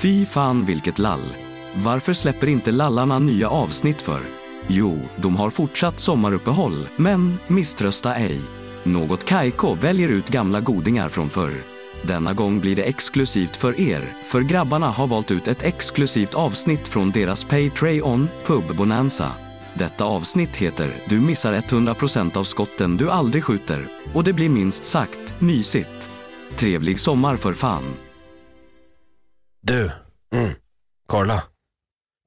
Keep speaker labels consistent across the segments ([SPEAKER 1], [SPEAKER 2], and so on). [SPEAKER 1] Fy fan vilket lall. Varför släpper inte lallarna nya avsnitt för? Jo, de har fortsatt sommaruppehåll, men misströsta ej. Något Kaiko väljer ut gamla godingar från förr. Denna gång blir det exklusivt för er, för grabbarna har valt ut ett exklusivt avsnitt från deras Patreon, Pub Bonanza. Detta avsnitt heter Du missar 100% av skotten du aldrig skjuter och det blir minst sagt mysigt. Trevlig sommar för fan!
[SPEAKER 2] Du,
[SPEAKER 3] Mm.
[SPEAKER 2] kolla.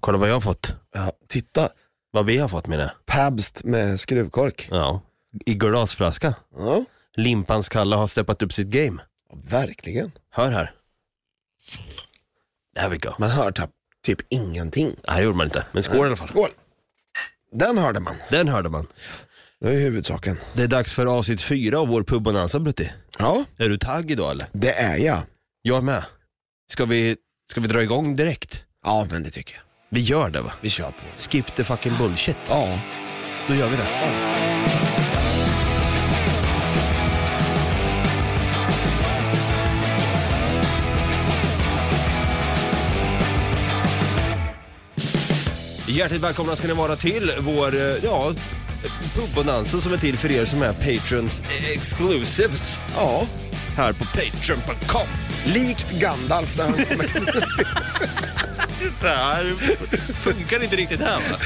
[SPEAKER 2] Kolla vad jag har fått.
[SPEAKER 3] Ja, titta,
[SPEAKER 2] Vad vi har fått menar jag.
[SPEAKER 3] Pabst med skruvkork.
[SPEAKER 2] Ja. I glasflaska.
[SPEAKER 3] Ja,
[SPEAKER 2] Limpans Kalle har steppat upp sitt game.
[SPEAKER 3] verkligen.
[SPEAKER 2] Hör här. There we go.
[SPEAKER 3] Man hör typ, typ ingenting.
[SPEAKER 2] Det här gjorde man inte, men skål i alla fall.
[SPEAKER 3] Skål! Den hörde man.
[SPEAKER 2] Den hörde man.
[SPEAKER 3] Det är huvudsaken.
[SPEAKER 2] Det är dags för avsnitt fyra av vår Pub Bonanza Brutti.
[SPEAKER 3] Ja,
[SPEAKER 2] Är du tagg idag eller?
[SPEAKER 3] det är jag.
[SPEAKER 2] Jag med. Ska vi, ska vi dra igång direkt?
[SPEAKER 3] Ja, men det tycker jag.
[SPEAKER 2] Vi gör det va?
[SPEAKER 3] Vi kör på.
[SPEAKER 2] Skip the fucking bullshit.
[SPEAKER 3] Ja,
[SPEAKER 2] Då gör vi det. Hjärtligt välkomna ska ni vara till vår, eh, ja, pubbonansen som är till för er som är Patrons exclusives
[SPEAKER 3] ja.
[SPEAKER 2] här på Patreon.com.
[SPEAKER 3] Likt Gandalf när han kommer till
[SPEAKER 2] Så här funkar inte riktigt här va?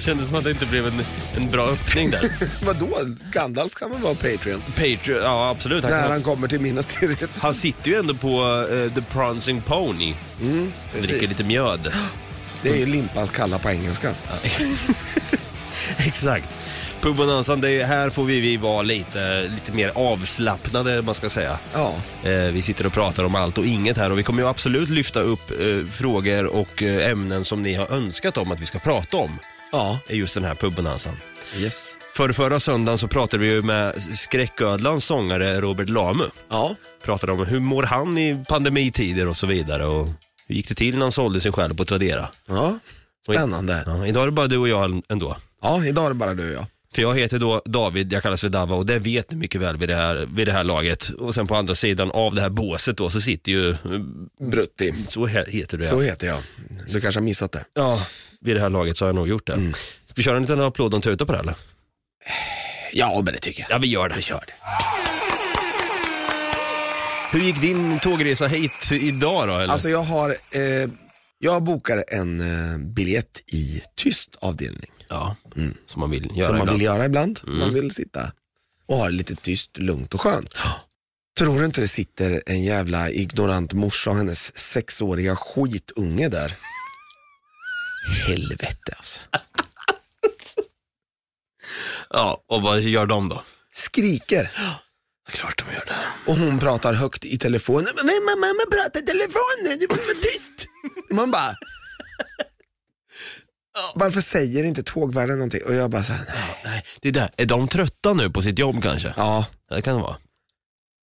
[SPEAKER 2] Kändes som att det inte blev en, en bra öppning där.
[SPEAKER 3] Vadå? Gandalf kan väl vara Patreon?
[SPEAKER 2] Patreon, ja absolut. Han,
[SPEAKER 3] När
[SPEAKER 2] kan
[SPEAKER 3] han
[SPEAKER 2] också,
[SPEAKER 3] kommer till Minas Tirith.
[SPEAKER 2] han sitter ju ändå på eh, The Prancing Pony. Dricker lite mjöd.
[SPEAKER 3] Det är ju limpans kalla på engelska.
[SPEAKER 2] Exakt. Pubbonansen, det är- här får vi, vi vara lite, lite mer avslappnade, man ska säga.
[SPEAKER 3] Ja,
[SPEAKER 2] Eh, vi sitter och pratar om allt och inget här och vi kommer ju absolut lyfta upp eh, frågor och eh, ämnen som ni har önskat om att vi ska prata om
[SPEAKER 3] ja.
[SPEAKER 2] i just den här pubbonansen.
[SPEAKER 3] Yes.
[SPEAKER 2] För förra söndagen så pratade vi ju med Skräcködlans sångare Robert Lamu.
[SPEAKER 3] Ja,
[SPEAKER 2] Pratade om hur mår han i pandemitider och så vidare och hur gick det till när han sålde sin själ på Tradera.
[SPEAKER 3] ja. Spännande.
[SPEAKER 2] Ja, idag är det bara du och jag ändå.
[SPEAKER 3] Ja, idag är det bara du och jag.
[SPEAKER 2] För jag heter då David, jag kallas för Dava och det vet ni mycket väl vid det, här, vid det här laget. Och sen på andra sidan av det här båset då så sitter ju, eh,
[SPEAKER 3] Brutti.
[SPEAKER 2] så he- heter du ja.
[SPEAKER 3] Så heter jag. Du kanske har missat det.
[SPEAKER 2] Ja, vid det här laget så har jag nog gjort det. Ska vi köra en liten applåd och en tuta på det eller?
[SPEAKER 3] Ja, men det tycker jag.
[SPEAKER 2] Ja, vi gör det. Vi kör det. Hur gick din tågresa hit idag då? Eller?
[SPEAKER 3] Alltså jag har, eh, jag bokar en eh, biljett i tyst avdelning.
[SPEAKER 2] ja, Mm. som man vill göra
[SPEAKER 3] som man
[SPEAKER 2] ibland.
[SPEAKER 3] vill göra ibland. Mm. Man vill sitta och ha det lite tyst, lugnt och skönt. Tror du inte det sitter en jävla ignorant morsa och hennes sexåriga skitunge där? Helvete alltså.
[SPEAKER 2] Ja, och vad gör de då?
[SPEAKER 3] Skriker.
[SPEAKER 2] Klart de gör det.
[SPEAKER 3] Och hon pratar högt i telefon. Men mamma, mamma pratar i telefon nu, du måste vara tyst. Man bara. Varför säger inte tågvärden någonting? Och jag bara så här, nej.
[SPEAKER 2] Nej, det är där. Är de trötta nu på sitt jobb kanske?
[SPEAKER 3] Ja,
[SPEAKER 2] Det kan det vara.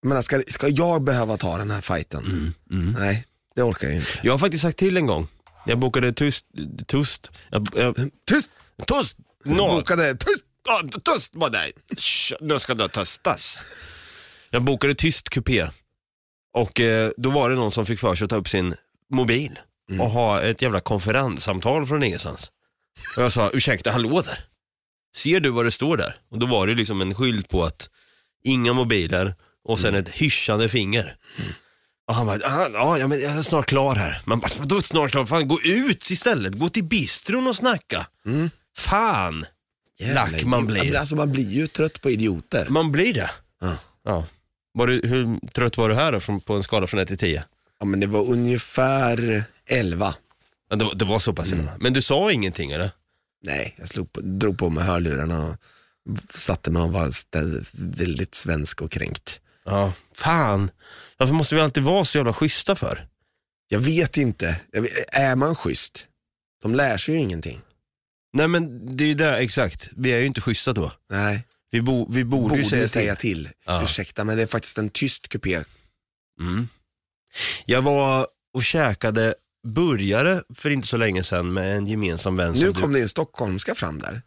[SPEAKER 3] men ska, ska jag behöva ta den här fighten?
[SPEAKER 2] Mm,
[SPEAKER 3] Nej, det orkar jag inte.
[SPEAKER 2] Jag har faktiskt sagt till en gång. Jag bokade tyst, tyst, jag, jag,
[SPEAKER 3] Tyst!
[SPEAKER 2] tyst, no,
[SPEAKER 3] Bokade, tyst!
[SPEAKER 2] Ja, tyst på dig. Sh, Nu ska du testas. Jag bokade tyst kupé och eh, då var det någon som fick för sig att ta upp sin mobil och ha ett jävla konferenssamtal från ingenstans. Och jag sa, ursäkta, hallå där. Ser du vad det står där? Och då var det liksom en skylt på att inga mobiler och sen ett hyschande finger. Och han bara, "Ah, ja ja, men jag är snart klar här. Man bara, vadå snart klar? Fan gå ut istället, gå till bistron och snacka.
[SPEAKER 3] Mm.
[SPEAKER 2] Fan.
[SPEAKER 3] Jävla
[SPEAKER 2] Lack
[SPEAKER 3] idiot.
[SPEAKER 2] man blir.
[SPEAKER 3] Ja, men Alltså man blir ju trött på idioter.
[SPEAKER 2] Man blir det.
[SPEAKER 3] Ja.
[SPEAKER 2] Ja. Var du, hur trött var du här då, från, på en skala från 1 till 10?
[SPEAKER 3] Ja men det var ungefär 11.
[SPEAKER 2] Ja, det, var- det var så pass illa. Men du sa ingenting eller?
[SPEAKER 3] Nej, jag slog på, drog på mig hörlurarna och satte mig och var stä- väldigt svensk och kränkt.
[SPEAKER 2] Ja. Fan, varför måste vi alltid vara så jävla schyssta för?
[SPEAKER 3] Jag vet inte. Jag vet, är man schysst? De lär sig ju ingenting.
[SPEAKER 2] Nej men det är ju där, exakt. Vi är ju inte schyssta då.
[SPEAKER 3] Nej,
[SPEAKER 2] Vi, bo, vi borde,
[SPEAKER 3] borde
[SPEAKER 2] ju säga, till.
[SPEAKER 3] till.
[SPEAKER 2] Ja.
[SPEAKER 3] Ursäkta, men det är faktiskt en tyst kupé.
[SPEAKER 2] Mm. Jag var och käkade burgare för inte så länge sedan med en gemensam vän som
[SPEAKER 3] Nu
[SPEAKER 2] du-
[SPEAKER 3] kom det en stockholmska fram där.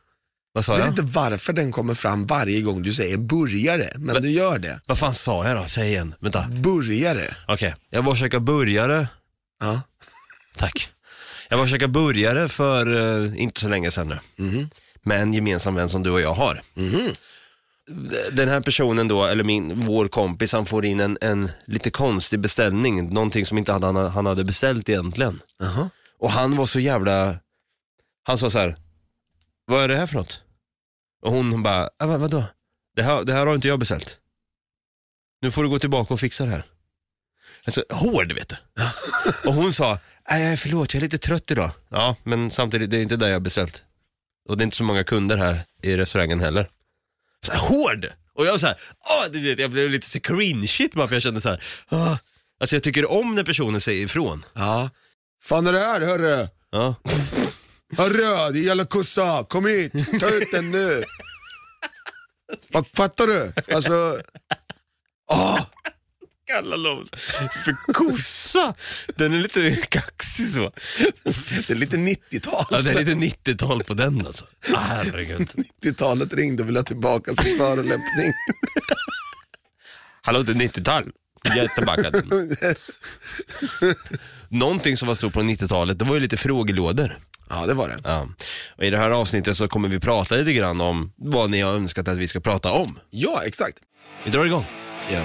[SPEAKER 2] Vad sa
[SPEAKER 3] Jag
[SPEAKER 2] jag?
[SPEAKER 3] vet inte varför den kommer fram varje gång du säger burgare, men
[SPEAKER 2] Va-
[SPEAKER 3] du gör det.
[SPEAKER 2] Vad fan sa jag då? Säg igen. Vänta.
[SPEAKER 3] Burgare.
[SPEAKER 2] Okej, jag var och käkade burgare
[SPEAKER 3] Ja.
[SPEAKER 2] Tack. Jag var och käkade burgare för eh, inte så länge sedan nu.
[SPEAKER 3] Mhm.
[SPEAKER 2] Med en gemensam vän som du och jag har. Den här personen då, eller min, vår kompis, han får in en, en lite konstig beställning. Någonting som inte han, han hade beställt egentligen.
[SPEAKER 3] Jaha.
[SPEAKER 2] Och han var så jävla, han sa så här, vad är det här för något? Och hon bara, "Ah, vad, vadå? Det här, det här har inte jag beställt. Nu får du gå tillbaka och fixa det här. Alltså, hård vet du. och hon sa, nej förlåt jag är lite trött idag. Ja, men samtidigt det är inte det jag har beställt. Och det är inte så många kunder här i restaurangen heller. Så här, hård! Och jag var så här, "Ah, du vet, jag blev lite så cringe-shit bara för jag kände så här, "Ah." alltså jag tycker om när personer säger ifrån.
[SPEAKER 3] Ja. Fan är det här hörru?
[SPEAKER 2] Ja.
[SPEAKER 3] Hörru, det gäller kussa. Kom hit, ta ut den nu. Vad fattar du? Alltså, ah,
[SPEAKER 2] kallar dem för kossa. Den är lite kaxig så.
[SPEAKER 3] det är lite 90-tal.
[SPEAKER 2] Ja, det är lite 90-tal på den alltså. Ah, Herregud.
[SPEAKER 3] 90-talet ringde och ville ha tillbaka sin förolämpning.
[SPEAKER 2] Hallå, det är 90-tal. Jag är tillbaka den. Någonting som var stort på 90-talet, det var ju lite frågelådor.
[SPEAKER 3] Ja, det var det.
[SPEAKER 2] Ja. Och I det här avsnittet så kommer vi prata lite grann om vad ni har önskat att vi ska prata om.
[SPEAKER 3] Ja, exakt.
[SPEAKER 2] Vi drar igång.
[SPEAKER 3] Ja.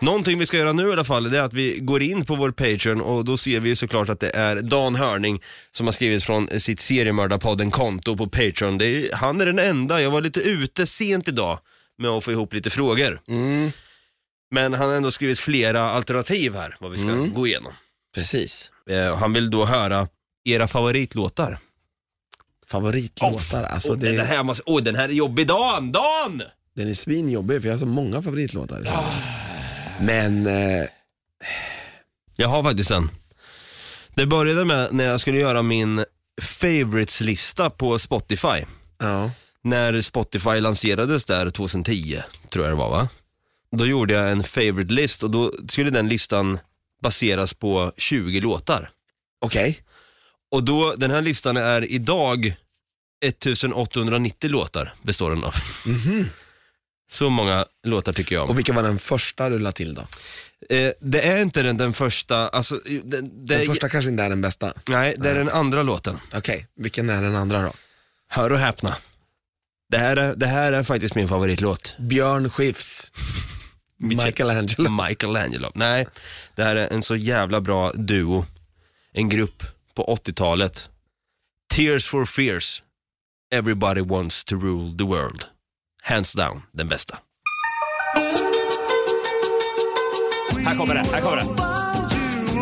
[SPEAKER 2] Någonting vi ska göra nu i alla fall, det är att vi går in på vår Patreon och då ser vi ju såklart att det är Dan Hörning som har skrivit från sitt seriemördarpodden-konto på Patreon. Det är, han är den enda, jag var lite ute sent idag med att få ihop lite frågor.
[SPEAKER 3] Mm,
[SPEAKER 2] Men han har ändå skrivit flera alternativ här, vad vi ska
[SPEAKER 3] Mm.
[SPEAKER 2] gå igenom.
[SPEAKER 3] precis.
[SPEAKER 2] Eh, han vill då höra era favoritlåtar.
[SPEAKER 3] Favoritlåtar, alltså
[SPEAKER 2] Åh, den,
[SPEAKER 3] det,
[SPEAKER 2] här måste, oh, den här är jobbig, Dan! Dan!
[SPEAKER 3] den är svinjobbig för jag har så många favoritlåtar. Men, eh,
[SPEAKER 2] Jag har faktiskt en. Det började med när jag skulle göra min favorites-lista på Spotify.
[SPEAKER 3] ja.
[SPEAKER 2] När Spotify lanserades där 2010, tror jag det var va? Då gjorde jag en favorite list och då skulle den listan baseras på 20 låtar.
[SPEAKER 3] Okej,
[SPEAKER 2] Och då, den här listan är idag 1890 låtar består den av. Så många låtar tycker jag om.
[SPEAKER 3] Mhm. och vilken var den första du la till då?
[SPEAKER 2] Eh, det är inte den, den första, alltså, det, det,
[SPEAKER 3] Den första kanske inte är den bästa.
[SPEAKER 2] nej det är den andra låten.
[SPEAKER 3] Okej, vilken är den andra då?
[SPEAKER 2] Hör och häpna. Det här är, det här är faktiskt min favoritlåt.
[SPEAKER 3] Björn Skifs, Michelangelo.
[SPEAKER 2] Michelangelo. Nej, det här är en så jävla bra duo. En grupp på 80-talet. Tears for fears. Everybody wants to rule the world. Hands down, den bästa. Här kommer det, här kommer det.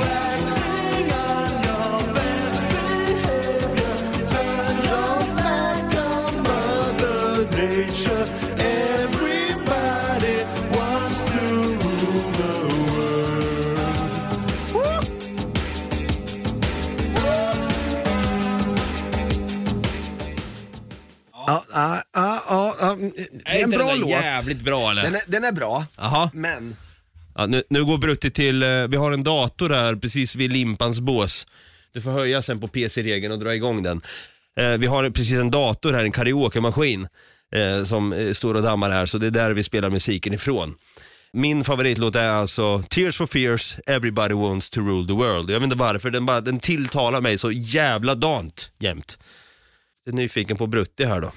[SPEAKER 3] Ja, ja, ja, ja, ja. ah, mm, Det är en bra låt.
[SPEAKER 2] jävligt bra eller?
[SPEAKER 3] Den är, den är bra,
[SPEAKER 2] Jaha.
[SPEAKER 3] men
[SPEAKER 2] Ja, nu, nu går Brutti till, eh, vi har en dator här precis vid limpans bås. Du får höja sen på PC-regeln och dra igång den. Eh, vi har precis en dator här, en karaokemaskin eh, som eh, står och dammar här, så det är där vi spelar musiken ifrån. Min favoritlåt är alltså Tears for Fears, Everybody Wants to Rule the World. Jag vet inte varför, den, bara, den tilltalar mig så jävla dant jämt. Jag är nyfiken på Brutti här då.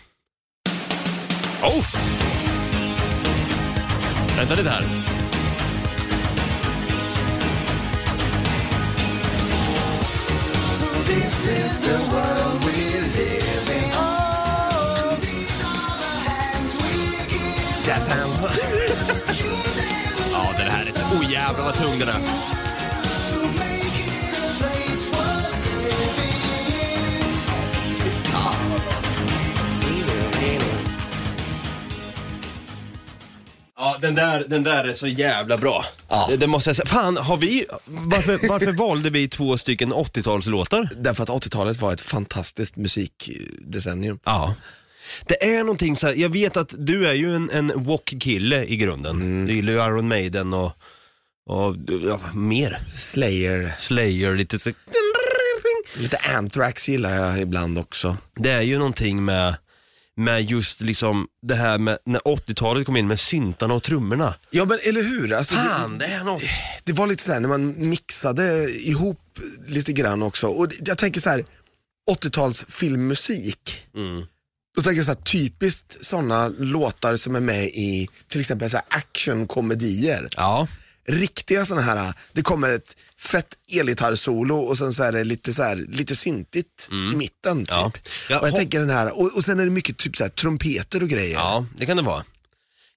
[SPEAKER 2] Oh! Vänta lite här.
[SPEAKER 3] Jazz Hands.
[SPEAKER 2] Ja, den här är... Oh jävlar vad tung den är. Ja, den där, den där är så jävla bra.
[SPEAKER 3] Ja.
[SPEAKER 2] Det, det måste jag säga. Fan, har vi... Varför, varför valde vi två stycken 80-talslåtar?
[SPEAKER 3] Därför att 80-talet var ett fantastiskt musikdecennium.
[SPEAKER 2] Ja. Det är någonting så här, jag vet att du är ju en, en walk-kille i grunden. Du gillar ju Iron Maiden och, och ja, mer.
[SPEAKER 3] Slayer,
[SPEAKER 2] Slayer, lite så...
[SPEAKER 3] lite Anthrax gillar jag ibland också.
[SPEAKER 2] Det är ju någonting med med just liksom det här med när 80-talet kom in med syntarna och trummorna.
[SPEAKER 3] Ja men eller hur? Alltså,
[SPEAKER 2] Fan, det är något.
[SPEAKER 3] det var lite så här när man mixade ihop lite grann också. Och det- jag tänker så här 80-tals filmmusik. Då tänker jag så här, typiskt sådana låtar som är med i till exempel så här actionkomedier.
[SPEAKER 2] Ja.
[SPEAKER 3] Riktiga sådana här, det kommer ett fett elgitarrsolo och sen så är det lite, så här, lite syntigt i mitten. Typ.
[SPEAKER 2] Mm. Ja. Jag
[SPEAKER 3] och jag
[SPEAKER 2] hop-
[SPEAKER 3] tänker den här, och, och sen är det mycket typ så här, trumpeter och grejer.
[SPEAKER 2] ja, det kan det vara.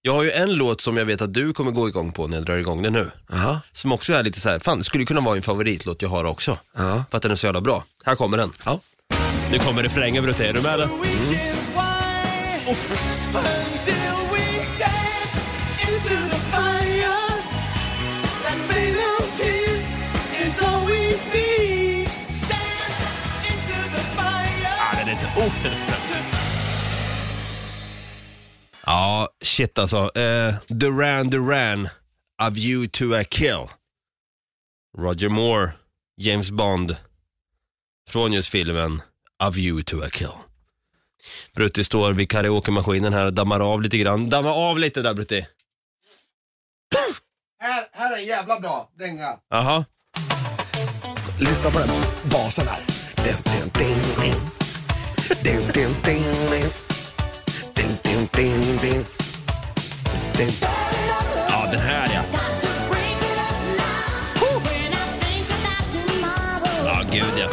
[SPEAKER 2] Jag har ju en låt som jag vet att du kommer gå igång på när jag drar igång den nu.
[SPEAKER 3] Aha.
[SPEAKER 2] Som också är lite så här, fan det skulle kunna vara en favoritlåt jag har också.
[SPEAKER 3] Ja.
[SPEAKER 2] För att den är så jävla bra. Här kommer den.
[SPEAKER 3] Ja.
[SPEAKER 2] Nu kommer refrängen Brutte, är du med eller? den är inte... Oh, den är så bra. Ja, shit alltså. Eh, Duran Duran, A View to a Kill. Roger Moore, James Bond. Från just filmen A View to a Kill. Brutti står vid karaokemaskinen här och dammar av lite grann. Damma av lite där Brutti.
[SPEAKER 3] Här, här är en jävla bra dänga.
[SPEAKER 2] Jaha.
[SPEAKER 3] Lyssna på den basen här. Ding, ding, ding, ding. Ding, ding, ding, ding. Ding, ding, ding, ding. Ding.
[SPEAKER 2] Ja, den här ja. Ja, Ah, gud ja.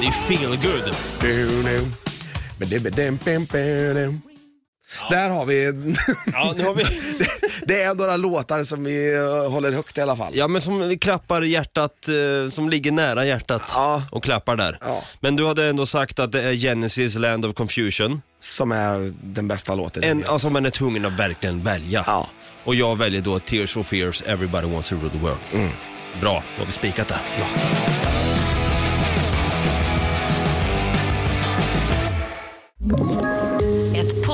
[SPEAKER 2] Det er är feel good.
[SPEAKER 3] Du, du. Ba-dim, ba-dim, bim, ba-dim. Där har vi,
[SPEAKER 2] Ja, nu har vi...
[SPEAKER 3] det är några låtar som vi eh, håller högt i alla fall.
[SPEAKER 2] Ja men som klappar hjärtat, eh, som ligger nära hjärtat
[SPEAKER 3] Ja.
[SPEAKER 2] och klappar där.
[SPEAKER 3] Ja.
[SPEAKER 2] Men du hade ändå sagt att det är Genesis Land of Confusion,
[SPEAKER 3] Som är den bästa låten.
[SPEAKER 2] en, ja, som man är tvungen att verkligen välja.
[SPEAKER 3] Ja.
[SPEAKER 2] Och jag väljer då Tears for Fears, Everybody Wants to Rule the World.
[SPEAKER 3] Mm.
[SPEAKER 2] Bra, då har vi spikat det.
[SPEAKER 3] Ja.
[SPEAKER 4] Ett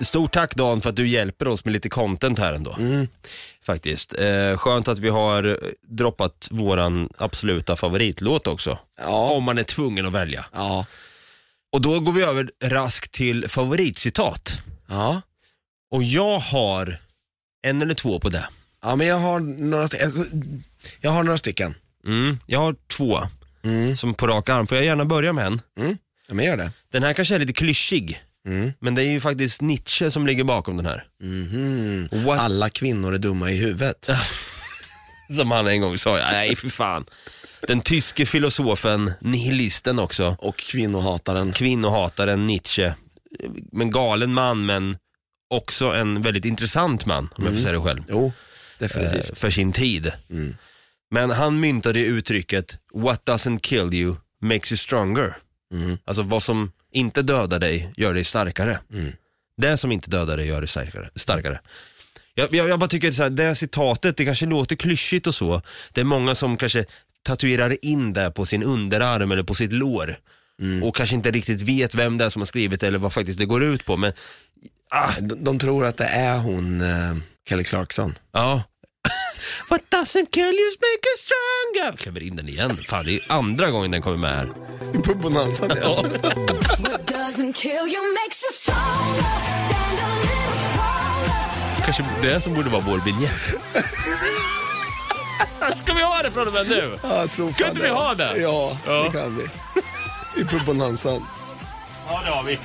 [SPEAKER 2] Stort tack Dan för att du hjälper oss med lite content här ändå.
[SPEAKER 3] Mm.
[SPEAKER 2] Faktiskt. Eh, skönt att vi har eh, droppat våran absoluta favoritlåt också.
[SPEAKER 3] Ja.
[SPEAKER 2] Om man är tvungen att välja.
[SPEAKER 3] Ja.
[SPEAKER 2] Och då går vi över raskt till favoritcitat.
[SPEAKER 3] ja.
[SPEAKER 2] Och jag har en eller två på det.
[SPEAKER 3] Ja, men jag har några, st- alltså, jag har några stycken.
[SPEAKER 2] Mm, jag har två som på rak arm. Får jag gärna börja med en?
[SPEAKER 3] Mm. Ja, men gör det.
[SPEAKER 2] Den här kanske är lite klyschig, men det är ju faktiskt Nietzsche som ligger bakom den här.
[SPEAKER 3] Mm.
[SPEAKER 2] What-
[SPEAKER 3] Mhm. Alla kvinnor är dumma i huvudet.
[SPEAKER 2] Som han en gång sa, nej för fan. Den tyske filosofen, nihilisten också,
[SPEAKER 3] Och kvinnohataren.
[SPEAKER 2] kvinnohataren Nietzsche. Men galen man, men också en väldigt intressant man, om jag får säga det själv.
[SPEAKER 3] Jo,
[SPEAKER 2] eh,
[SPEAKER 3] definitivt.
[SPEAKER 2] för sin tid. Men han myntade ju uttrycket “What doesn't kill you makes you stronger”. Alltså vad som inte dödar dig gör dig starkare. Det som inte dödar dig gör dig starkare. starkare. Jag, jag, jag bara tycker att så här, det här citatet, det kanske låter klyschigt och så. Det är många som kanske tatuerar in det på sin underarm eller på sitt lår. Och kanske inte riktigt vet vem det är som har skrivit det eller vad faktiskt det går ut på. Men ah, Eh.
[SPEAKER 3] De, de tror att det är hon, eh, Kelly Clarkson.
[SPEAKER 2] Ja. What doesn't kill you make us stronger. Jag klämmer in den igen. Fan, det är andra gången den kommer med här.
[SPEAKER 3] På Bonanza ja.
[SPEAKER 2] Kanske det som borde vara vår vignett. Ska vi ha det från och med nu?
[SPEAKER 3] Ja, jag tror fan
[SPEAKER 2] Kan inte vi ha det?
[SPEAKER 3] Ja,
[SPEAKER 2] Ja.
[SPEAKER 3] det kan vi. I på Bonanza.
[SPEAKER 2] Ja, det har vi.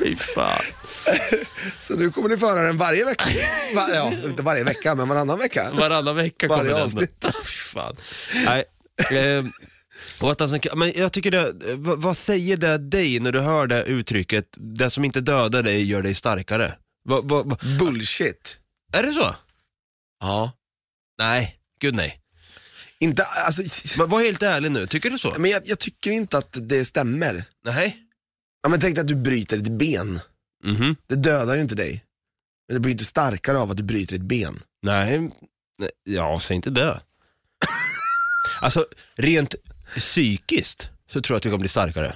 [SPEAKER 2] Fy fan.
[SPEAKER 3] Så nu kommer ni få höra den varje vecka. Va, ja, inte varje vecka, men varannan vecka.
[SPEAKER 2] Varannan vecka kommer
[SPEAKER 3] Varje
[SPEAKER 2] den.
[SPEAKER 3] avsnitt.
[SPEAKER 2] Fy fan. Nej. Eh, what doesn't kill- men jag tycker det, eh, vad, vad säger det dig när du hör det uttrycket, det som inte dödar dig gör dig starkare? Vad- vad- vad-
[SPEAKER 3] Bullshit.
[SPEAKER 2] är det så?
[SPEAKER 3] Ja.
[SPEAKER 2] Nej, gud nej.
[SPEAKER 3] Inte, alltså,
[SPEAKER 2] Men var helt ärlig nu, tycker du så?
[SPEAKER 3] men jag, jag tycker inte att det stämmer.
[SPEAKER 2] Nej.
[SPEAKER 3] Ja, men tänk dig att du bryter ett ben.
[SPEAKER 2] Mhm.
[SPEAKER 3] Det dödar ju inte dig. Men det blir inte starkare av att du bryter ett ben.
[SPEAKER 2] Nej, nej, ja säg inte det. alltså rent psykiskt så tror jag att du kommer bli starkare.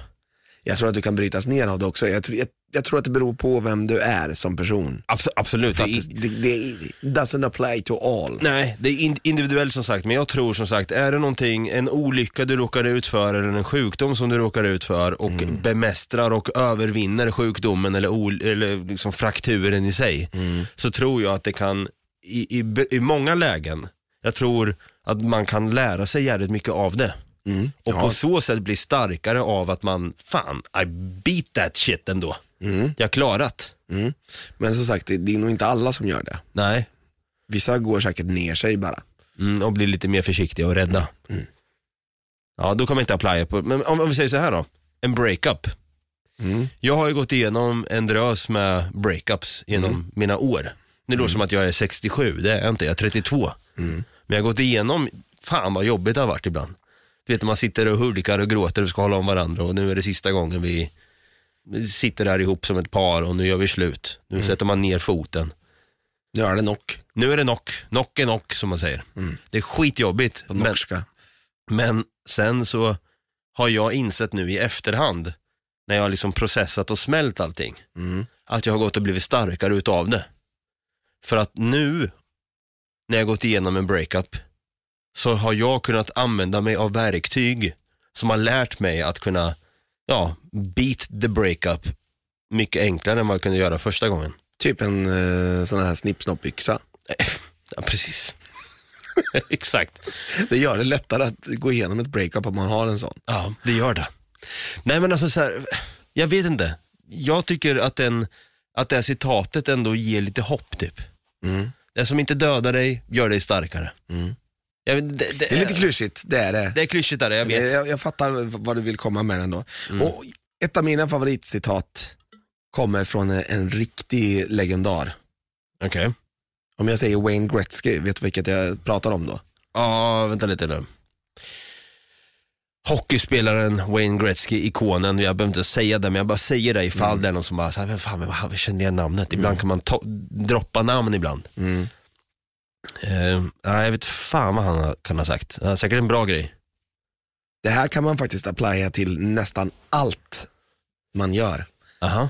[SPEAKER 3] Jag tror att du kan brytas ner av det också. Jag, tr- jag, jag tror att det beror på vem du är som person.
[SPEAKER 2] Abs- absolut.
[SPEAKER 3] För att
[SPEAKER 2] Det är-
[SPEAKER 3] det, det, det doesn't apply to all.
[SPEAKER 2] Nej, det är in- individuellt som sagt, men jag tror som sagt, är det någonting, en olycka du råkar ut för eller en sjukdom som du råkar ut för och bemästrar och övervinner sjukdomen eller, ol- eller liksom frakturen i sig, så tror jag att det kan, i, i, b- i många lägen, jag tror att man kan lära sig jävligt mycket av det.
[SPEAKER 3] Mm.
[SPEAKER 2] Och
[SPEAKER 3] Ja.
[SPEAKER 2] på så sätt bli starkare av att man, fan, I beat that shit ändå.
[SPEAKER 3] Mm.
[SPEAKER 2] Jag har klarat.
[SPEAKER 3] Mm. Men som sagt, det, det är nog inte alla som gör det.
[SPEAKER 2] Nej.
[SPEAKER 3] Vissa går säkert ner sig bara.
[SPEAKER 2] Mm, och bli lite mer försiktiga och rädda.
[SPEAKER 3] Mm.
[SPEAKER 2] Ja, då kommer jag inte applya på, men om, om vi säger så här då, en breakup.
[SPEAKER 3] Mm.
[SPEAKER 2] Jag har ju gått igenom en drös med breakups genom mina år. Nu låter det som att jag är 67, det är jag inte, jag är 32. Men jag har gått igenom, fan vad jobbigt det har varit ibland. Du vet när man sitter och hulkar och gråter och ska hålla om varandra och nu är det sista gången vi sitter här ihop som ett par och nu gör vi slut. Nu sätter man ner foten.
[SPEAKER 3] Nu är det knock
[SPEAKER 2] Nu är det knock, knock är knock som man säger. Det är skitjobbigt.
[SPEAKER 3] på
[SPEAKER 2] men-
[SPEAKER 3] norska.
[SPEAKER 2] men sen så har jag insett nu i efterhand, när jag har liksom processat och smält allting,
[SPEAKER 3] Mm.
[SPEAKER 2] att jag har gått och blivit starkare utav det. För att nu, när jag gått igenom en breakup, så har jag kunnat använda mig av verktyg som har lärt mig att kunna, ja, beat the breakup mycket enklare än vad jag kunde göra första gången.
[SPEAKER 3] Typ en eh, sån här snippsnoppyxa.
[SPEAKER 2] Ja, precis. Exakt.
[SPEAKER 3] Det gör det lättare att gå igenom ett breakup om man har en sån.
[SPEAKER 2] Ja, det gör det. Nej men alltså så här, jag vet inte. Jag tycker att, den, att det här citatet ändå ger lite hopp typ.
[SPEAKER 3] Mm.
[SPEAKER 2] Det som inte dödar dig gör dig starkare.
[SPEAKER 3] Mm.
[SPEAKER 2] Jag vet, det, det,
[SPEAKER 3] Det är lite klyschigt, det är det.
[SPEAKER 2] Eh, Det är klyschigt där, jag vet.
[SPEAKER 3] Jag, jag, fattar vad du vill komma med ändå. Och ett av mina favoritcitat kommer från en, en riktig legendar.
[SPEAKER 2] Okej.
[SPEAKER 3] Om jag säger Wayne Gretzky, vet du vilket jag pratar om då?
[SPEAKER 2] Ja, vänta lite nu. Hockeyspelaren Wayne Gretzky, ikonen, jag behöver inte säga det men jag bara säger det ifall
[SPEAKER 3] Mm.
[SPEAKER 2] det är någon som bara, så här, vem fan, vem, fan, jag känner igen namnet. Ibland kan man to- droppa namn ibland.
[SPEAKER 3] Mm.
[SPEAKER 2] Eh, nej, jag vet fan vad han har- kan ha sagt. Han har säkert en bra grej.
[SPEAKER 3] Det här kan man faktiskt applya till nästan allt man gör.
[SPEAKER 2] Aha.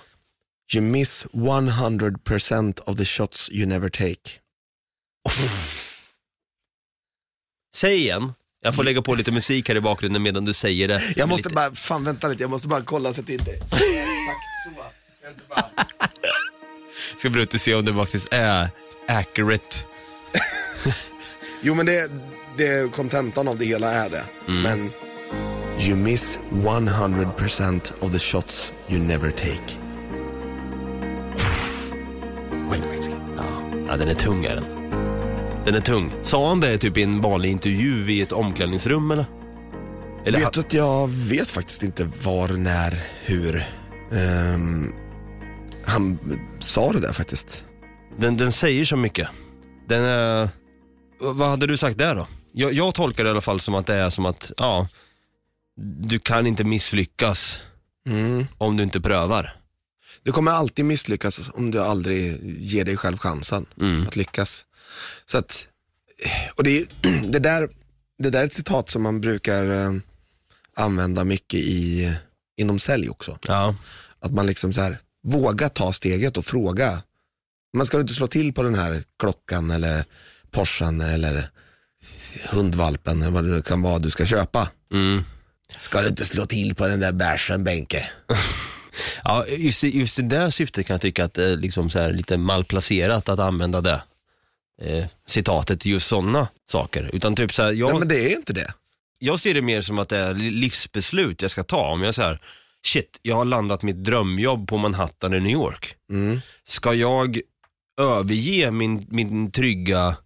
[SPEAKER 3] You miss 100% of the shots you never take.
[SPEAKER 2] Säg igen. Jag får lägga på lite musik här i bakgrunden medan du säger det.
[SPEAKER 3] Jag måste
[SPEAKER 2] lite...
[SPEAKER 3] bara, fan vänta lite, jag måste bara kolla så att det inte är exakt så. Jag inte bara...
[SPEAKER 2] Ska bara ut och se om det faktiskt är accurate.
[SPEAKER 3] Jo men det, det kontentan av det hela är det. Men you miss 100% of the shots you never take.
[SPEAKER 2] Wayne Gretzky. Ja. ja, den är tung är den. Den är tung. Sa han det typ i en vanlig intervju i ett omklädningsrum eller? Eller
[SPEAKER 3] Vet du att jag vet faktiskt inte var, när, hur ehm, han sa det där faktiskt.
[SPEAKER 2] den, den säger så mycket. Den är... Vad hade du sagt där då? Jag, jag tolkar det i alla fall som att det är som att, ja, du kan inte misslyckas
[SPEAKER 3] Mm.
[SPEAKER 2] om du inte prövar.
[SPEAKER 3] Du kommer alltid misslyckas om du aldrig ger dig själv chansen
[SPEAKER 2] Mm.
[SPEAKER 3] att lyckas. Så att, eh, och det, är- det, där, det där är ett citat som man brukar eh, använda mycket i, inom sälj också.
[SPEAKER 2] Ja.
[SPEAKER 3] Att man liksom så här, våga ta steget och fråga. Man ska inte slå till på den här klockan eller Porschen eller hundvalpen eller vad det nu kan vara du ska köpa.
[SPEAKER 2] Mm.
[SPEAKER 3] Ska du inte slå till på den där bärsen Benke?
[SPEAKER 2] Ja, just, i- just i det syftet kan jag tycka att det är liksom så här lite malplacerat att använda det eh, citatet till just sådana saker. Utan typ så här, jag,
[SPEAKER 3] Nej men det är inte det.
[SPEAKER 2] jag ser det mer som att det är li- livsbeslut jag ska ta. Om jag så här, shit, jag har landat mitt drömjobb på Manhattan i New York.
[SPEAKER 3] Mm.
[SPEAKER 2] Ska jag överge min, min trygga,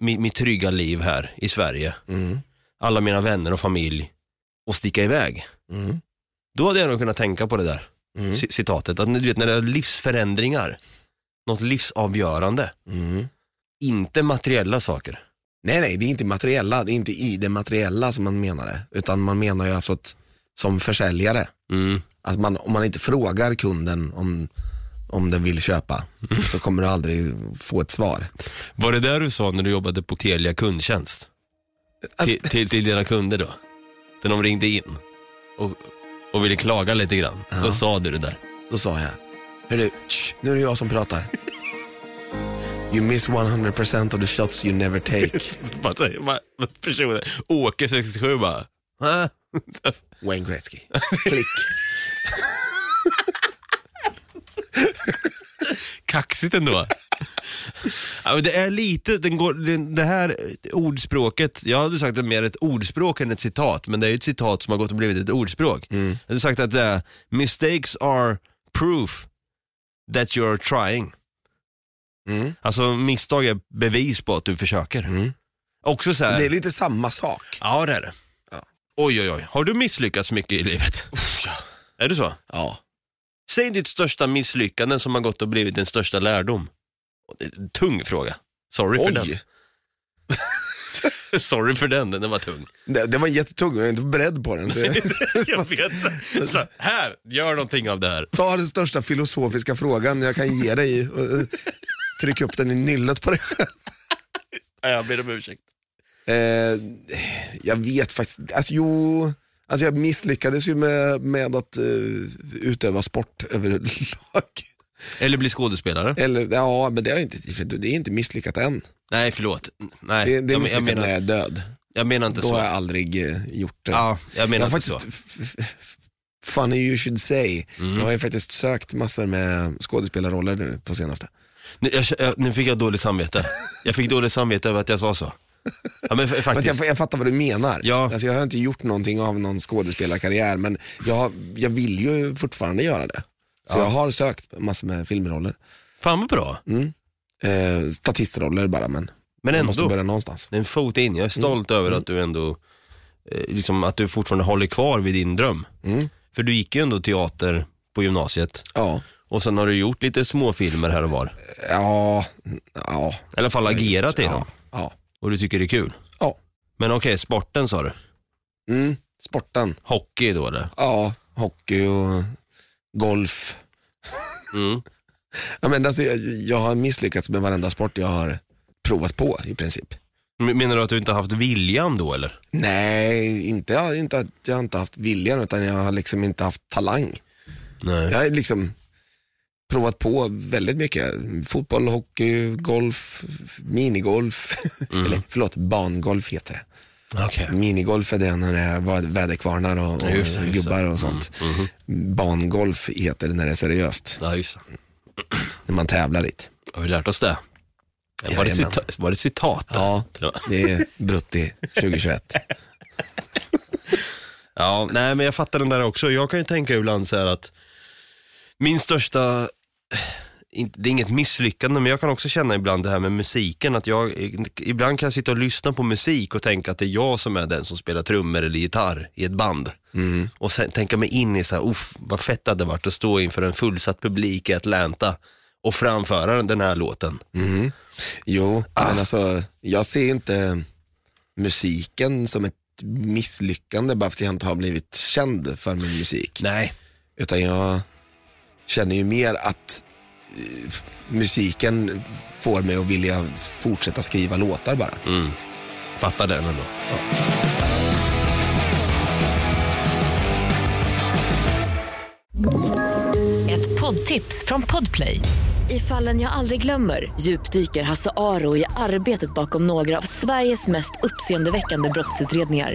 [SPEAKER 2] min, mitt trygga liv här i Sverige,
[SPEAKER 3] Mm.
[SPEAKER 2] alla mina vänner och familj och sticka iväg?
[SPEAKER 3] Mm.
[SPEAKER 2] Då hade jag nog kunnat tänka på det där
[SPEAKER 3] Mm.
[SPEAKER 2] ci- citatet. Att du vet när det är livsförändringar, något livsavgörande,
[SPEAKER 3] Mm.
[SPEAKER 2] inte materiella saker.
[SPEAKER 3] Nej, nej, det är inte materiella, det är inte i det materiella som man menar det. Utan man menar ju alltså att, som försäljare,
[SPEAKER 2] Mm.
[SPEAKER 3] att man, om man inte frågar kunden om, om den vill köpa så kommer du aldrig få ett svar.
[SPEAKER 2] Var det där du sa när du jobbade på Telia kundtjänst? Till, till, till dina kunder då? När de ringde in och, och ville klaga lite grann. Då sa du det där.
[SPEAKER 3] Då sa jag, hörru, tsch, nu är det jag som pratar. You miss 100% of the shots you never take.
[SPEAKER 2] Bara säger- bara- Personen, Åke 67 bara, "Hä?"
[SPEAKER 3] Wayne Gretzky. Klick.
[SPEAKER 2] Kaxigt ändå. Ja, men det är lite, den går, det- det här ordspråket, jag hade sagt att det är mer ett ordspråk än ett citat, men det är ju ett citat som har gått och blivit ett ordspråk.
[SPEAKER 3] Mm.
[SPEAKER 2] Jag hade sagt att det är, mistakes are proof that you're trying.
[SPEAKER 3] Mm.
[SPEAKER 2] Alltså misstag är bevis på att du försöker.
[SPEAKER 3] Mm.
[SPEAKER 2] Också så här,
[SPEAKER 3] Det är lite samma sak.
[SPEAKER 2] ja det är det.
[SPEAKER 3] Ja.
[SPEAKER 2] Oj oj oj, har du misslyckats mycket i livet? Är det så?
[SPEAKER 3] Ja.
[SPEAKER 2] Säg ditt största misslyckande som har gått och blivit din största lärdom. Det är en Tung fråga. Sorry för
[SPEAKER 3] Oj,
[SPEAKER 2] den. Sorry för den, den var tung.
[SPEAKER 3] det, det var jättetung, jag är inte beredd på den. Så jag...
[SPEAKER 2] Jag vet. Så här, gör någonting av det här.
[SPEAKER 3] Ta den största filosofiska frågan jag kan ge dig och eh, tryck upp den i nyllet på dig själv.
[SPEAKER 2] Nej, Jag ber om ursäkt.
[SPEAKER 3] Eh, jag vet faktiskt, alltså jo, alltså jag misslyckades ju med, med att eh, utöva sport överlag.
[SPEAKER 2] Eller bli skådespelare.
[SPEAKER 3] Eller ja, men det är inte, för det är inte misslyckat än.
[SPEAKER 2] Nej, förlåt. Nej,
[SPEAKER 3] Det, det är
[SPEAKER 2] jag, men- jag,
[SPEAKER 3] misslyckat när jag
[SPEAKER 2] menar,
[SPEAKER 3] är död.
[SPEAKER 2] jag menar inte
[SPEAKER 3] Då
[SPEAKER 2] så.
[SPEAKER 3] har jag aldrig eh, gjort det.
[SPEAKER 2] Ja, jag menar
[SPEAKER 3] jag har
[SPEAKER 2] inte
[SPEAKER 3] faktiskt,
[SPEAKER 2] så. Mm.
[SPEAKER 3] f- f- funny you should say, jag har ju faktiskt sökt massor med skådespelarroller nu på senaste.
[SPEAKER 2] Nu, jag, jag, nu fick jag dåligt samvete. Jag fick dåligt samvete över att jag sa så. Ja, men f-
[SPEAKER 3] Fast
[SPEAKER 2] faktiskt.
[SPEAKER 3] jag, jag fattar vad du menar.
[SPEAKER 2] Ja.
[SPEAKER 3] Alltså jag har inte gjort någonting av någon skådespelarkarriär men jag, jag vill ju fortfarande göra det. Så jag har sökt massor med filmroller.
[SPEAKER 2] Fan vad bra.
[SPEAKER 3] Eh, statistroller bara men
[SPEAKER 2] Men
[SPEAKER 3] man
[SPEAKER 2] ändå.
[SPEAKER 3] Mm. måste börja någonstans.
[SPEAKER 2] Det är en fot in. Jag är
[SPEAKER 3] Mm.
[SPEAKER 2] stolt över att du ändå, eh, liksom att du fortfarande håller kvar vid din dröm.
[SPEAKER 3] Mm.
[SPEAKER 2] För du gick ju ändå teater på gymnasiet
[SPEAKER 3] Ja,
[SPEAKER 2] och sen har du gjort lite småfilmer här och var.
[SPEAKER 3] ja, ja.
[SPEAKER 2] I alla fall agerat i dem
[SPEAKER 3] ja. ja.
[SPEAKER 2] och du tycker det är kul.
[SPEAKER 3] ja.
[SPEAKER 2] Men okej, sporten sa du.
[SPEAKER 3] Mm. Sporten,
[SPEAKER 2] Hockey då eller?
[SPEAKER 3] ja, hockey och golf.
[SPEAKER 2] Mm.
[SPEAKER 3] Jag, menar, alltså, jag, jag har misslyckats med varenda sport jag har provat på i princip.
[SPEAKER 2] Men- Menar du att du inte har haft viljan då eller?
[SPEAKER 3] Nej, inte, jag, inte, att jag har inte haft viljan utan jag har liksom inte haft talang.
[SPEAKER 2] Nej.
[SPEAKER 3] Jag har liksom provat på väldigt mycket. Fotboll, hockey, golf, minigolf.
[SPEAKER 2] Mm.
[SPEAKER 3] Eller förlåt, bangolf heter det.
[SPEAKER 2] Okej.
[SPEAKER 3] Mm. Minigolf är det när det var väderkvarnar och,
[SPEAKER 2] Ja,
[SPEAKER 3] och
[SPEAKER 2] just det, just det. Mm, mhm.
[SPEAKER 3] gubbar och sånt. Bangolf heter det när det är seriöst,
[SPEAKER 2] Ja, just det.
[SPEAKER 3] när man tävlar dit.
[SPEAKER 2] Har vi lärt oss det? Var det, ett
[SPEAKER 3] Jajamän.
[SPEAKER 2] cita- var det ett citat? där?
[SPEAKER 3] Ja. Det är Brutti 2021.
[SPEAKER 2] Ja, nej men jag fattar den där också. Jag kan ju tänka ibland så här att min största, eh, inte- det är inget misslyckande, men jag kan också känna ibland det här med musiken. Att jag, eh, ibland kan jag sitta och lyssna på musik och tänka att det är jag som är den som spelar trummor eller gitarr i ett band. Och sen tänka mig in i så här, uff, vad fett det hade varit att stå inför en fullsatt publik i Atlanta och framföra den här låten.
[SPEAKER 3] Jo, men alltså jag ser inte musiken som ett misslyckande bara för att jag inte har blivit känd för min musik.
[SPEAKER 2] Nej.
[SPEAKER 3] Utan jag känner ju mer att eh, musiken får mig att vilja fortsätta skriva låtar bara.
[SPEAKER 2] Fattar den ändå.
[SPEAKER 4] Ett poddtips från Podplay. I fallen jag aldrig glömmer djupdyker Hasse Aro i arbetet bakom några av Sveriges mest uppseendeväckande brottsutredningar.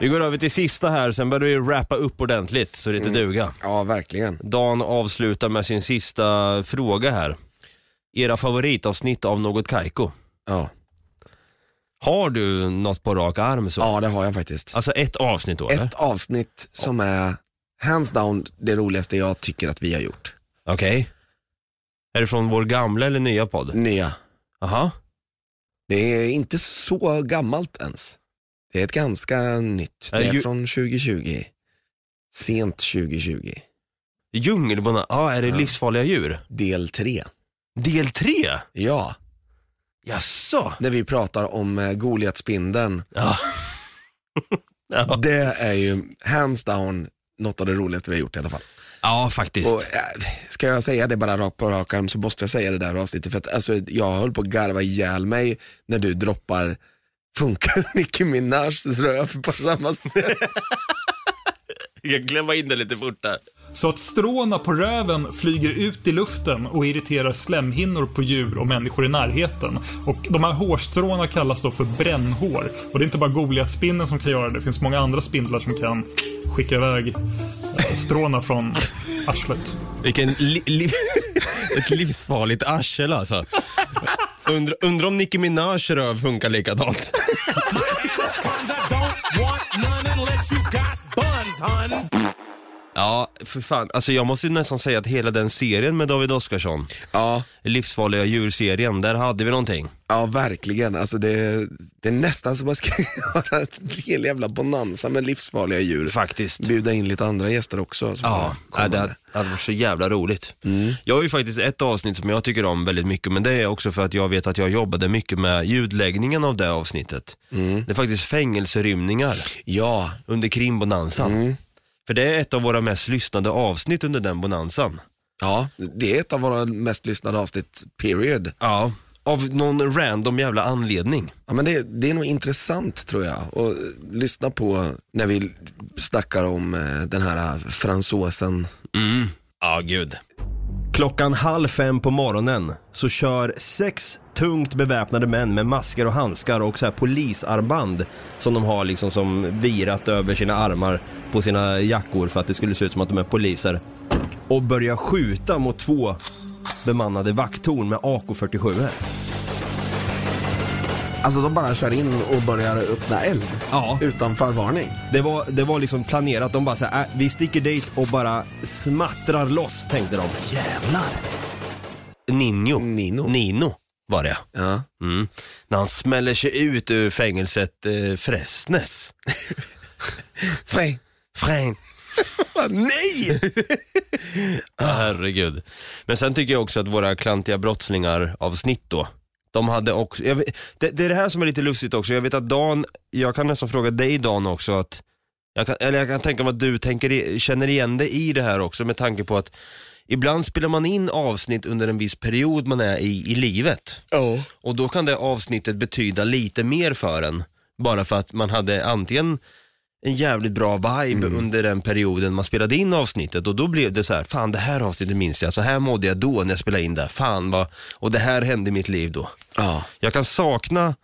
[SPEAKER 2] Vi går över till sista här, sen börjar vi rappa upp ordentligt så det inte duga.
[SPEAKER 3] Ja, verkligen.
[SPEAKER 2] Dan avslutar med sin sista fråga här. Era favoritavsnitt av Något Kaiko.
[SPEAKER 3] Ja,
[SPEAKER 2] Har du något på rak arm så?
[SPEAKER 3] ja det har jag faktiskt.
[SPEAKER 2] Alltså ett avsnitt då eller?
[SPEAKER 3] Ett avsnitt som är hands down det roligaste jag tycker att vi har gjort.
[SPEAKER 2] Okej. Är det från vår gamla eller nya podd?
[SPEAKER 3] Nya.
[SPEAKER 2] Aha.
[SPEAKER 3] Det är inte så gammalt ens. Det är ett ganska nytt. Det
[SPEAKER 2] Äh,
[SPEAKER 3] är
[SPEAKER 2] ju-
[SPEAKER 3] från 2020. Sent 2020.
[SPEAKER 2] Djungelbonanza, ah, är det
[SPEAKER 3] Ja.
[SPEAKER 2] livsfarliga djur?
[SPEAKER 3] Del 3.
[SPEAKER 2] Del tre?
[SPEAKER 3] Ja,
[SPEAKER 2] Jaså?
[SPEAKER 3] när vi pratar om eh, Goliatspindeln.
[SPEAKER 2] Ja. ja.
[SPEAKER 3] Det är ju hands down något av det roligaste vi har gjort i alla fall.
[SPEAKER 2] ja, faktiskt.
[SPEAKER 3] Och, äh, ska jag säga det bara rakt på rak arm så måste jag säga det där avsnittet för att alltså, jag höll på att garva ihjäl mig när du droppar Funkar Nicki Minajs röv på samma sätt?
[SPEAKER 2] Jag glömmer in det lite fort där.
[SPEAKER 5] så att stråna på röven flyger ut i luften och irriterar slemhinnor på djur och människor i närheten. Och de här hårstråna kallas då för brännhår. Och det är inte bara Goliatspindeln som kan göra det. Det finns många andra spindlar som kan skicka iväg eh, stråna från arslet.
[SPEAKER 2] Vilken li- li- ett livsfarligt arsel alltså. Undrar undra om Nicki Minaj röv funkar likadant. Ja, för fan. Alltså jag måste nästan säga att hela den serien med David Oskarsson,
[SPEAKER 3] Ja,
[SPEAKER 2] livsfarliga djurserien, där hade vi någonting.
[SPEAKER 3] ja verkligen. Alltså det, det är nästan som att man ska göra en hel jävla bonanza med livsfarliga djur.
[SPEAKER 2] Faktiskt.
[SPEAKER 3] Bjuda in lite andra gäster också. som
[SPEAKER 2] Ja, Mm.
[SPEAKER 3] får komma
[SPEAKER 2] det
[SPEAKER 3] med.
[SPEAKER 2] hade- hade varit så jävla roligt. Jag har ju faktiskt ett avsnitt som jag tycker om väldigt mycket, men det är också för att jag vet att jag jobbade mycket med ljudläggningen av det avsnittet. Det är faktiskt fängelserymningar
[SPEAKER 3] ja,
[SPEAKER 2] under krimbonansan. För det är ett av våra mest lyssnade avsnitt under den bonansan.
[SPEAKER 3] ja, det är ett av våra mest lyssnade avsnitt, period.
[SPEAKER 2] Ja. Av någon random jävla anledning.
[SPEAKER 3] Ja, men det, det är nog intressant tror jag att eh, lyssna på när vi snackar om eh, den här fransosen.
[SPEAKER 2] Ja, gud. Klockan halv fem på morgonen så kör sex tungt beväpnade män med masker och handskar och så här polisarmband som de har liksom som virat över sina armar på sina jackor för att det skulle se ut som att de är poliser. Och börjar skjuta mot två bemannade vakttorn med AK47.
[SPEAKER 3] Alltså de bara kör in och börjar öppna eld
[SPEAKER 2] Ja.
[SPEAKER 3] utan förvarning.
[SPEAKER 2] Det var, det var liksom planerat. De bara så här, äh, vi sticker dit och bara smattrar loss tänkte de. Jävlar! Ninjo.
[SPEAKER 3] Nino.
[SPEAKER 2] Nino var det
[SPEAKER 3] Ja.
[SPEAKER 2] Mm. När han smäller sig ut ur fängelset eh, Fräsnes.
[SPEAKER 3] Frej.
[SPEAKER 2] Frän.
[SPEAKER 3] Nej!
[SPEAKER 2] Herregud. Men sen tycker jag också att våra klantiga brottslingar avsnitt då. De hade också, jag vet, det, det är det här som är lite lustigt också. Jag vet att Dan, jag kan nästan fråga dig Dan också att, jag kan, eller jag kan tänka mig att du tänker, i- känner igen dig i det här också med tanke på att ibland spelar man in avsnitt under en viss period man är i, i livet.
[SPEAKER 3] Ja.
[SPEAKER 2] Och då kan det avsnittet betyda lite mer för en. Bara för att man hade antingen en jävligt bra vibe under den perioden man spelade in avsnittet och då blev det så här, fan det här avsnittet minns jag, så här mådde jag då när jag spelade in det, fan vad, och det här hände i mitt liv då.
[SPEAKER 3] ja.
[SPEAKER 2] Jag kan sakna